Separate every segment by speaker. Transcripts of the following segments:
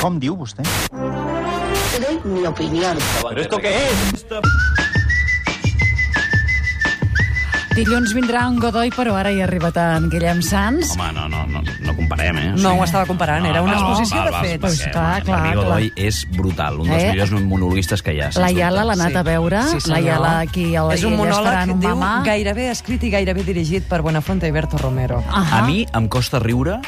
Speaker 1: Com diu vostè?
Speaker 2: Doy mi opinión.
Speaker 3: ¿Pero esto qué es?
Speaker 4: Dilluns vindrà en Godoy, però ara hi ha arribat en Guillem Sans.
Speaker 3: Home, no, no, no, no comparem, eh? O
Speaker 5: No ho estava comparant, era una exposició de fets.
Speaker 4: Pues clar, clar,
Speaker 3: L'amigo
Speaker 4: clar.
Speaker 3: Doi és brutal, un dels
Speaker 4: Eh?
Speaker 3: millors monologuistes que hi ha. sens
Speaker 4: La Iala
Speaker 3: dubte.
Speaker 4: l'ha anat a veure, la
Speaker 5: senyor.
Speaker 4: Iala aquí a la
Speaker 5: És un monòleg,
Speaker 4: un
Speaker 5: diu,
Speaker 4: mamà.
Speaker 5: gairebé escrit i gairebé dirigit per Buenafuente i Berto Romero.
Speaker 4: Ahà.
Speaker 3: A mi em costa riure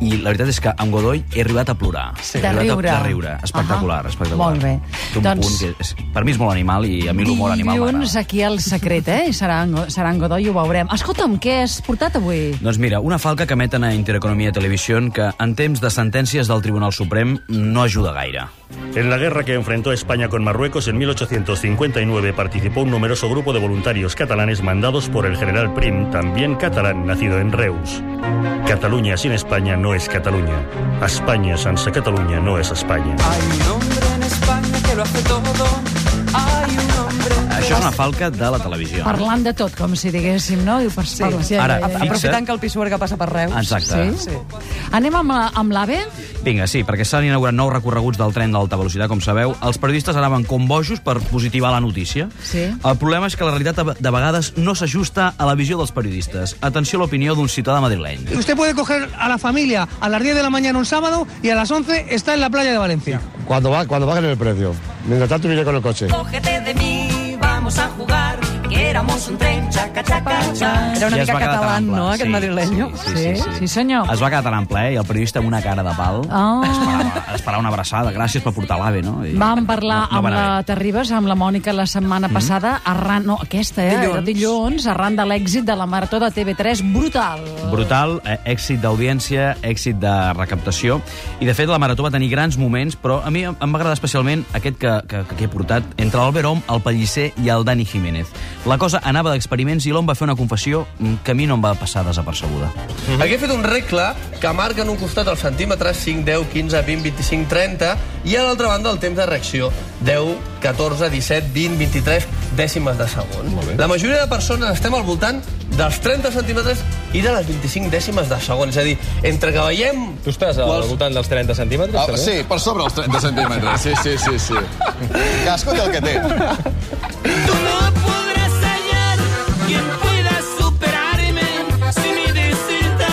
Speaker 3: i la veritat és que amb Godoy he arribat a plorar.
Speaker 5: Sí.
Speaker 3: He
Speaker 4: De
Speaker 3: arribat a-
Speaker 4: riure.
Speaker 3: De riure. Espectacular,
Speaker 4: Ahà.
Speaker 3: espectacular.
Speaker 4: Molt bé.
Speaker 3: Té un
Speaker 4: Doncs-
Speaker 3: punt que és, per mi és molt animal i a mi l'humor animal
Speaker 4: Dilluns
Speaker 3: m'agrada.
Speaker 4: aquí al secret, eh? Serà en, Go- serà en Godoy, ho veurem. Escolta'm, què has portat avui?
Speaker 3: Doncs mira, una falca que emeten a Intereconomia Televisió que en temps de sentències del Tribunal Suprem no ajuda gaire.
Speaker 6: En la guerra que enfrentó España con Marruecos en 1859 participó un numeroso grupo de voluntarios catalanes mandados por el general Prim, también catalán, nacido en Reus. Cataluña sin España no es Cataluña. España sans Cataluña no es España.
Speaker 2: Ah,
Speaker 3: Això és una falca de la televisió.
Speaker 4: Parlant de tot, com si diguéssim, no? I per,
Speaker 5: Sí.
Speaker 4: per-
Speaker 3: Ara, fixa't.
Speaker 5: Aprofitant que el Pisuerga passa per Reus.
Speaker 3: Exacte.
Speaker 4: Sí? Anem amb la- amb l'AVE?
Speaker 3: Vinga, sí, perquè s'han inaugurat nous recorreguts del tren d'alta velocitat, com sabeu. Els periodistes anaven com bojos per positivar la notícia.
Speaker 4: Sí.
Speaker 3: El problema és que la realitat de- de vegades no s'ajusta a la visió dels periodistas. Atenció a l'opinió d'un ciutadà madrileny.
Speaker 7: Usted puede coger a la familia a las 10 de la mañana un sábado y a las 11 está en la playa de Valencia.
Speaker 8: Cuando, va, cuando bajen el precio. Mientras tanto iré con el coche.
Speaker 9: Cógete de mí, vamos a jugar, que éramos un tren, chaca, chaca, chaca.
Speaker 5: Era una
Speaker 3: I es
Speaker 5: mica
Speaker 3: va quedar
Speaker 5: català,
Speaker 3: tan ample.
Speaker 5: no, aquest
Speaker 3: Sí,
Speaker 5: madrilenyo?
Speaker 3: Sí, sí, sí,
Speaker 4: Sí, sí, senyor.
Speaker 3: Es va quedar tan ample, eh? I el periodista amb una cara de pal
Speaker 4: Ah.
Speaker 3: esperava, esperava una abraçada. Gràcies per portar l'AVE, no? I
Speaker 4: Vam parlar
Speaker 3: no, Mm. no
Speaker 4: amb
Speaker 3: va anar
Speaker 4: la
Speaker 3: bé.
Speaker 4: Terribas, amb la Mònica, la setmana passada, arran... No, aquesta, eh? Era
Speaker 5: Dilluns.
Speaker 4: dilluns, arran de l'èxit de la marató de TV3. Brutal!
Speaker 3: Brutal, eh, èxit d'audiència, èxit de recaptació. I, de fet, la Marató va tenir grans moments, però a mi em em va agradar especialment aquest que, que, que he portat entre l'Albert Om, el Pellicer i el Dani Jiménez. La cosa anava d'experiments i l'Om va fer una confessió mm, que a mi no em va passar desapercebuda.
Speaker 10: Hagué fet un regle que marca en un costat els centímetres 5, 10, 15, 20, 25, 30 i a l'altra banda el temps de reacció 10, 14, 17, 20, 23 dècimes de segon. La majoria de persones estem al voltant dels 30 centímetres i de les 25 dècimes de segon. És a dir, entre que veiem... Tu estàs al voltant dels 30 centímetres?
Speaker 11: Ah, sí, per sobre els 30 centímetres. Sí, sí, sí, sí. Casco té el que té.
Speaker 9: Tú no podrás hallar quien pueda superarme si me des el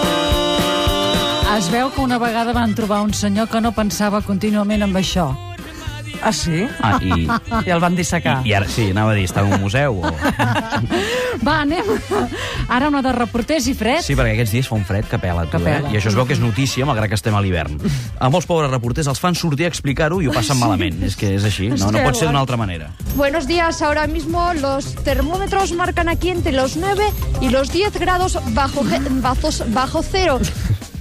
Speaker 9: tamaño.
Speaker 4: Es veu que una vegada van trobar un senyor que no pensava contínuament en això.
Speaker 5: Ah, sí?
Speaker 3: Ah, i,
Speaker 5: I el van dissecar.
Speaker 3: i, i ara sí, anava a dir, està en un museu o...
Speaker 4: Va, anem. Ara una de reporters i fred.
Speaker 3: Sí, perquè aquests dies fa un fred que pela, tu,
Speaker 4: Que pela.
Speaker 3: eh? I això es veu que és notícia, malgrat que estem a l'hivern. A molts pobres reporters els fan sortir a explicar-ho i ho passen malament. És que és així, no, no pot ser d'una altra manera.
Speaker 9: Buenos días, ahora mismo los termómetros marcan aquí entre los 9 y los 10 grados bajo, ge- bajos- bajo cero.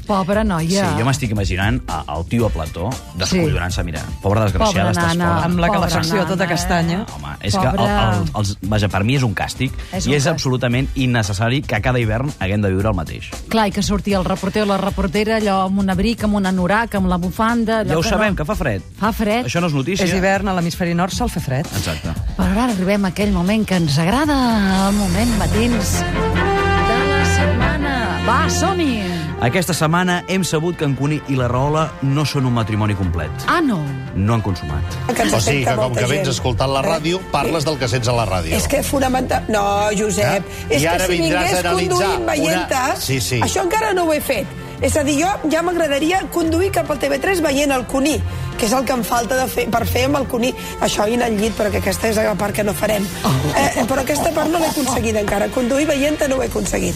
Speaker 4: Pobra
Speaker 3: Sí,
Speaker 4: noia.
Speaker 3: jo m'estic imaginant a- el tio a plató descollonant-se, mira, pobra desgraciada,
Speaker 4: Pobra
Speaker 3: estàs
Speaker 4: nana.
Speaker 3: fora.
Speaker 5: Amb la
Speaker 4: Pobra
Speaker 5: calefacció
Speaker 4: nana,
Speaker 5: tota
Speaker 4: eh?
Speaker 5: castanya.
Speaker 3: Home, és
Speaker 4: Pobra.
Speaker 3: que el, el, els, vaja, per mi és un càstig
Speaker 4: És
Speaker 3: i
Speaker 4: un
Speaker 3: és
Speaker 4: càstig.
Speaker 3: absolutament innecessari que cada hivern haguem de viure el mateix.
Speaker 4: Clar, i que sortia el reporter o la reportera allò amb un abric, amb un anorac, amb la bufanda... allò
Speaker 3: Ja ho
Speaker 4: no-
Speaker 3: sabem, que fa fred.
Speaker 4: Fa fred.
Speaker 3: Això no és notícia.
Speaker 5: És hivern, a l'hemisferi nord sol fer fred.
Speaker 3: Exacte.
Speaker 4: Però ara arribem a aquell moment que ens agrada, el moment matins de la setmana. Va, som-hi!
Speaker 3: Aquesta setmana hem sabut que en Cuní i la Rahola no són un matrimoni complet.
Speaker 4: Ah, no.
Speaker 3: No han consumat.
Speaker 8: O sigui que com que vens escoltant la ràdio, parles del que sents a la ràdio.
Speaker 2: És que fonamental... No, Josep,
Speaker 8: Eh?
Speaker 2: és
Speaker 8: I ara
Speaker 2: que si
Speaker 8: vindràs
Speaker 2: vingués
Speaker 8: a analitzar
Speaker 2: conduint
Speaker 8: una-
Speaker 2: veient una...
Speaker 8: Sí, sí.
Speaker 2: això encara no ho he fet. És a dir, jo ja m'agradaria conduir cap al TV3 veient el Cuní, que és el que em falta de fer, per fer amb el Cuní. Això i anar al llit, perquè aquesta és la part que no farem. Eh, però aquesta part no l'he aconseguit encara. Conduir veient no ho he aconseguit.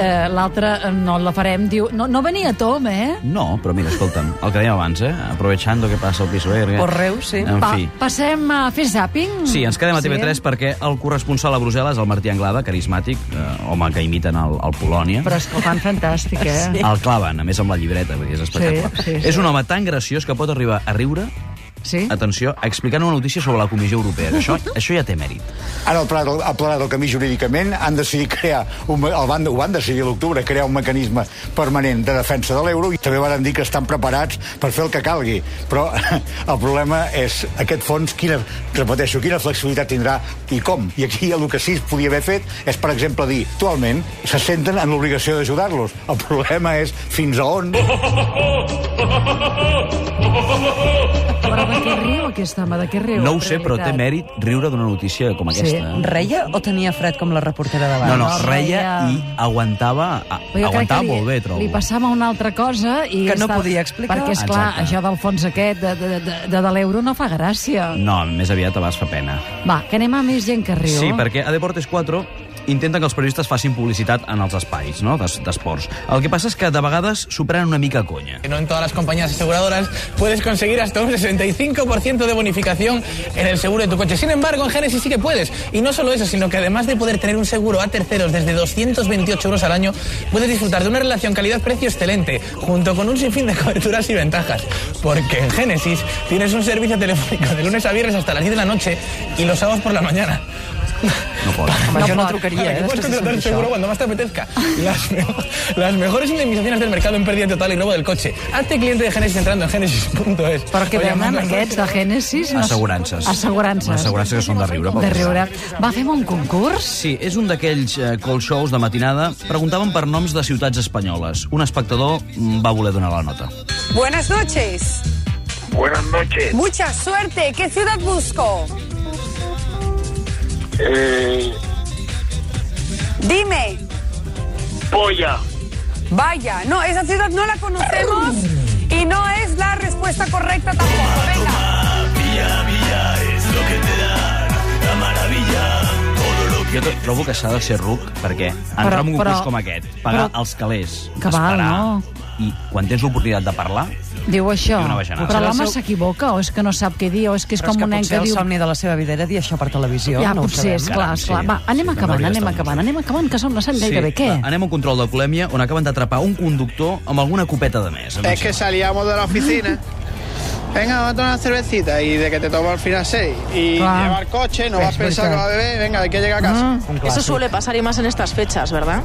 Speaker 4: Eh, L'altra eh, no la farem, diu... No, no venia a Tom, eh?
Speaker 3: No, però mira, escolta'm, el que dèiem abans, eh? Aprovechando que passa el piso erga.
Speaker 5: Por Reus, sí.
Speaker 3: En
Speaker 4: Pa
Speaker 3: fi.
Speaker 4: passem a fer zàping?
Speaker 3: Sí, ens quedem a TV3 perquè el corresponsal a Brussel·les, el Martí Anglada, carismàtic, eh, home que imiten el, el Polònia,
Speaker 4: Però és que ho fan fantàstic, eh?
Speaker 3: el claven, a més amb la llibreta, vull dir, és espectacular.
Speaker 4: Sí, sí, sí.
Speaker 3: És un home tan graciós que pot arribar a riure sí? atenció, explicant una notícia sobre la Comissió Europea. que Això, això ja té mèrit.
Speaker 1: Ara el Pla, del- el Pla del Camí jurídicament han decidit crear, un, me- el van, ho van decidir a l'octubre, crear un mecanisme permanent de defensa de l'euro i també van dir que estan preparats per fer el que calgui. Però el problema és aquest fons, quina, repeteixo, quina flexibilitat tindrà i com. I aquí el que sí es podia haver fet és, per exemple, dir, actualment se senten en l'obligació d'ajudar-los. El problema és fins a on...
Speaker 4: Però de què riu aquest home? De què riu?
Speaker 3: No ho sé, però té mèrit riure d'una notícia com
Speaker 4: Sí.
Speaker 3: aquesta. eh?
Speaker 5: Reia o tenia fred com la reportera de
Speaker 3: No,
Speaker 5: abans?
Speaker 3: no, reia i aguantava, a,
Speaker 4: Però jo crec
Speaker 3: aguantava
Speaker 4: que li,
Speaker 3: molt bé, trobo.
Speaker 4: Li passava una altra cosa i...
Speaker 5: Que no
Speaker 4: estava-
Speaker 5: podia explicar.
Speaker 4: Perquè, esclar,
Speaker 3: Exacte.
Speaker 4: això del fons aquest, de, de, de, de, de l'euro, no fa gràcia.
Speaker 3: No, més aviat abans fa pena.
Speaker 4: Va, que anem a més gent que riu.
Speaker 3: Sí, perquè a Deportes 4 intenten que els periodistes facin publicitat en els espais no? d'es- d'esports. El que passa és que de vegades s'ho prenen una mica a conya.
Speaker 12: No en todas las compañías aseguradoras puedes conseguir hasta un 65% de bonificación en el seguro de tu coche. Sin embargo, en Genesis sí que puedes. Y no solo eso, sino que además de poder tener un seguro a terceros desde 228 euros al año, puedes disfrutar de una relación calidad-precio excelente, junto con un sinfín de coberturas y ventajas. Porque en Genesis tienes un servicio telefónico de lunes a viernes hasta las 10 de la noche y los sábados por la mañana.
Speaker 3: No pot.
Speaker 5: Home, jo no
Speaker 12: Para
Speaker 5: trucaria,
Speaker 12: que
Speaker 5: eh, després
Speaker 12: puedas
Speaker 5: de
Speaker 12: contratar
Speaker 3: doncs
Speaker 12: el
Speaker 5: sentir
Speaker 12: seguro
Speaker 5: això.
Speaker 12: cuando más te apetezca. Las, me- las mejores indemnizaciones del mercado en pérdida total y robo del coche. Hazte cliente de Genesis entrando en genesis.es.
Speaker 4: Perquè
Speaker 12: Oye,
Speaker 4: venen
Speaker 12: más las
Speaker 4: aquests de Génesis...
Speaker 3: Assegurances.
Speaker 4: Assegurances.
Speaker 3: Les assegurances que són de riure.
Speaker 4: De riure. Va, fem un concurs?
Speaker 3: Sí, és un d'aquells eh, call shows de matinada. Preguntaven per noms de ciutats espanyoles. Un espectador mm, va voler donar la nota.
Speaker 13: Buenas noches.
Speaker 14: Buenas noches.
Speaker 13: Mucha suerte. ¿Qué ciudad busco?
Speaker 14: Eh,
Speaker 13: Dime.
Speaker 14: polla.
Speaker 13: Vaya, no, esa ciudad no la conocemos y no es la respuesta correcta tampoco. Venga.
Speaker 3: Jo to- trobo que s'ha de ser ruc, perquè entrar
Speaker 4: Però-
Speaker 3: en un concurs
Speaker 4: però-
Speaker 3: com aquest, pagar
Speaker 4: però-
Speaker 3: els calés,
Speaker 4: Que val,
Speaker 3: esperar,
Speaker 4: no?
Speaker 3: i quan tens l'oportunitat de parlar...
Speaker 4: Diu això.
Speaker 3: I una bajanada.
Speaker 4: Però l'home
Speaker 3: Potser el seu-
Speaker 4: s'equivoca, o és que no sap què dir, o és que és
Speaker 5: Però és
Speaker 4: com
Speaker 5: que
Speaker 4: un nen
Speaker 5: potser
Speaker 4: que
Speaker 5: el
Speaker 4: diu...
Speaker 5: somni de la seva vida era dir això per televisió.
Speaker 4: Ja,
Speaker 5: no ho
Speaker 4: potser,
Speaker 5: sabem.
Speaker 4: esclar, esclar. Va, anem acabant, anem acabant, anem acabant, que són les 7 gairebé. Què?
Speaker 3: va, anem a un control de colèmia on acaben d'atrapar un conductor amb alguna copeta de més.
Speaker 15: Es Eh, que salíamos de la oficina. Venga, vamos a tomar una cervecita y de que te tomo al final seis. Y
Speaker 7: Ah.
Speaker 16: Claro.
Speaker 15: llevar coche, no
Speaker 16: Es
Speaker 15: vas pensando que
Speaker 16: verdad.
Speaker 15: va a beber, venga, hay que llegar a casa.
Speaker 16: Eso suele pasar y más en estas fechas, ¿verdad?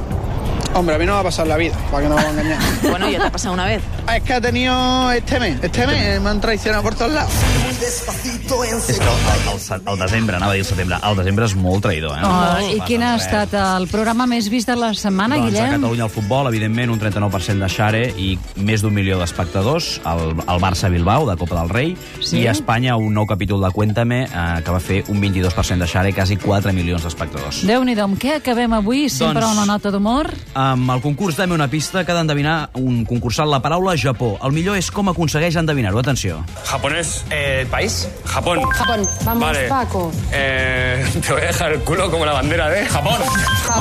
Speaker 15: Hombre, a mí no me va a pasar la vida, para que no me va a engañar.
Speaker 16: Bueno, ya te ha pasado una vez.
Speaker 15: Ah, Es que ha tenido este mes, este mes me han traicionado por todos lados.
Speaker 3: És que el, el, el, el desembre, anava a dir el setembre, el desembre és molt traïdor, eh?
Speaker 4: Oh, I
Speaker 3: Passa
Speaker 4: quin ha
Speaker 3: res.
Speaker 4: estat el programa més vist de la setmana,
Speaker 3: eh. Doncs a
Speaker 4: Guillem?
Speaker 3: Catalunya el futbol, evidentment, un 39% de share i més d'un milió d'espectadors, el, el Barça-Bilbao, de Copa del Rei,
Speaker 4: Sí?
Speaker 3: i a Espanya un nou capítol de Cuéntame, eh, que va fer un 22% de share, quasi 4 milions d'espectadors.
Speaker 4: Déu-n'hi-do, amb què acabem avui? Sempre
Speaker 3: Doncs-
Speaker 4: una nota d'humor?
Speaker 3: Amb el concurs Dame una pista que ha d'endevinar un concursant la paraula Japó. El millor és com aconsegueix endevinar-ho. Atenció.
Speaker 17: ¿Japonés? eh, ¿País? Japón.
Speaker 13: Japón. Vamos,
Speaker 17: Vale.
Speaker 13: Paco.
Speaker 17: Eh, te voy a dejar el culo como la bandera de Japón.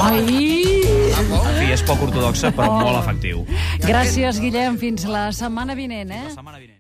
Speaker 4: Ai!
Speaker 3: En fi, és poc ortodoxa, però
Speaker 4: Oh.
Speaker 3: molt efectiu.
Speaker 4: Gràcies, Guillem. Fins la setmana vinent, eh?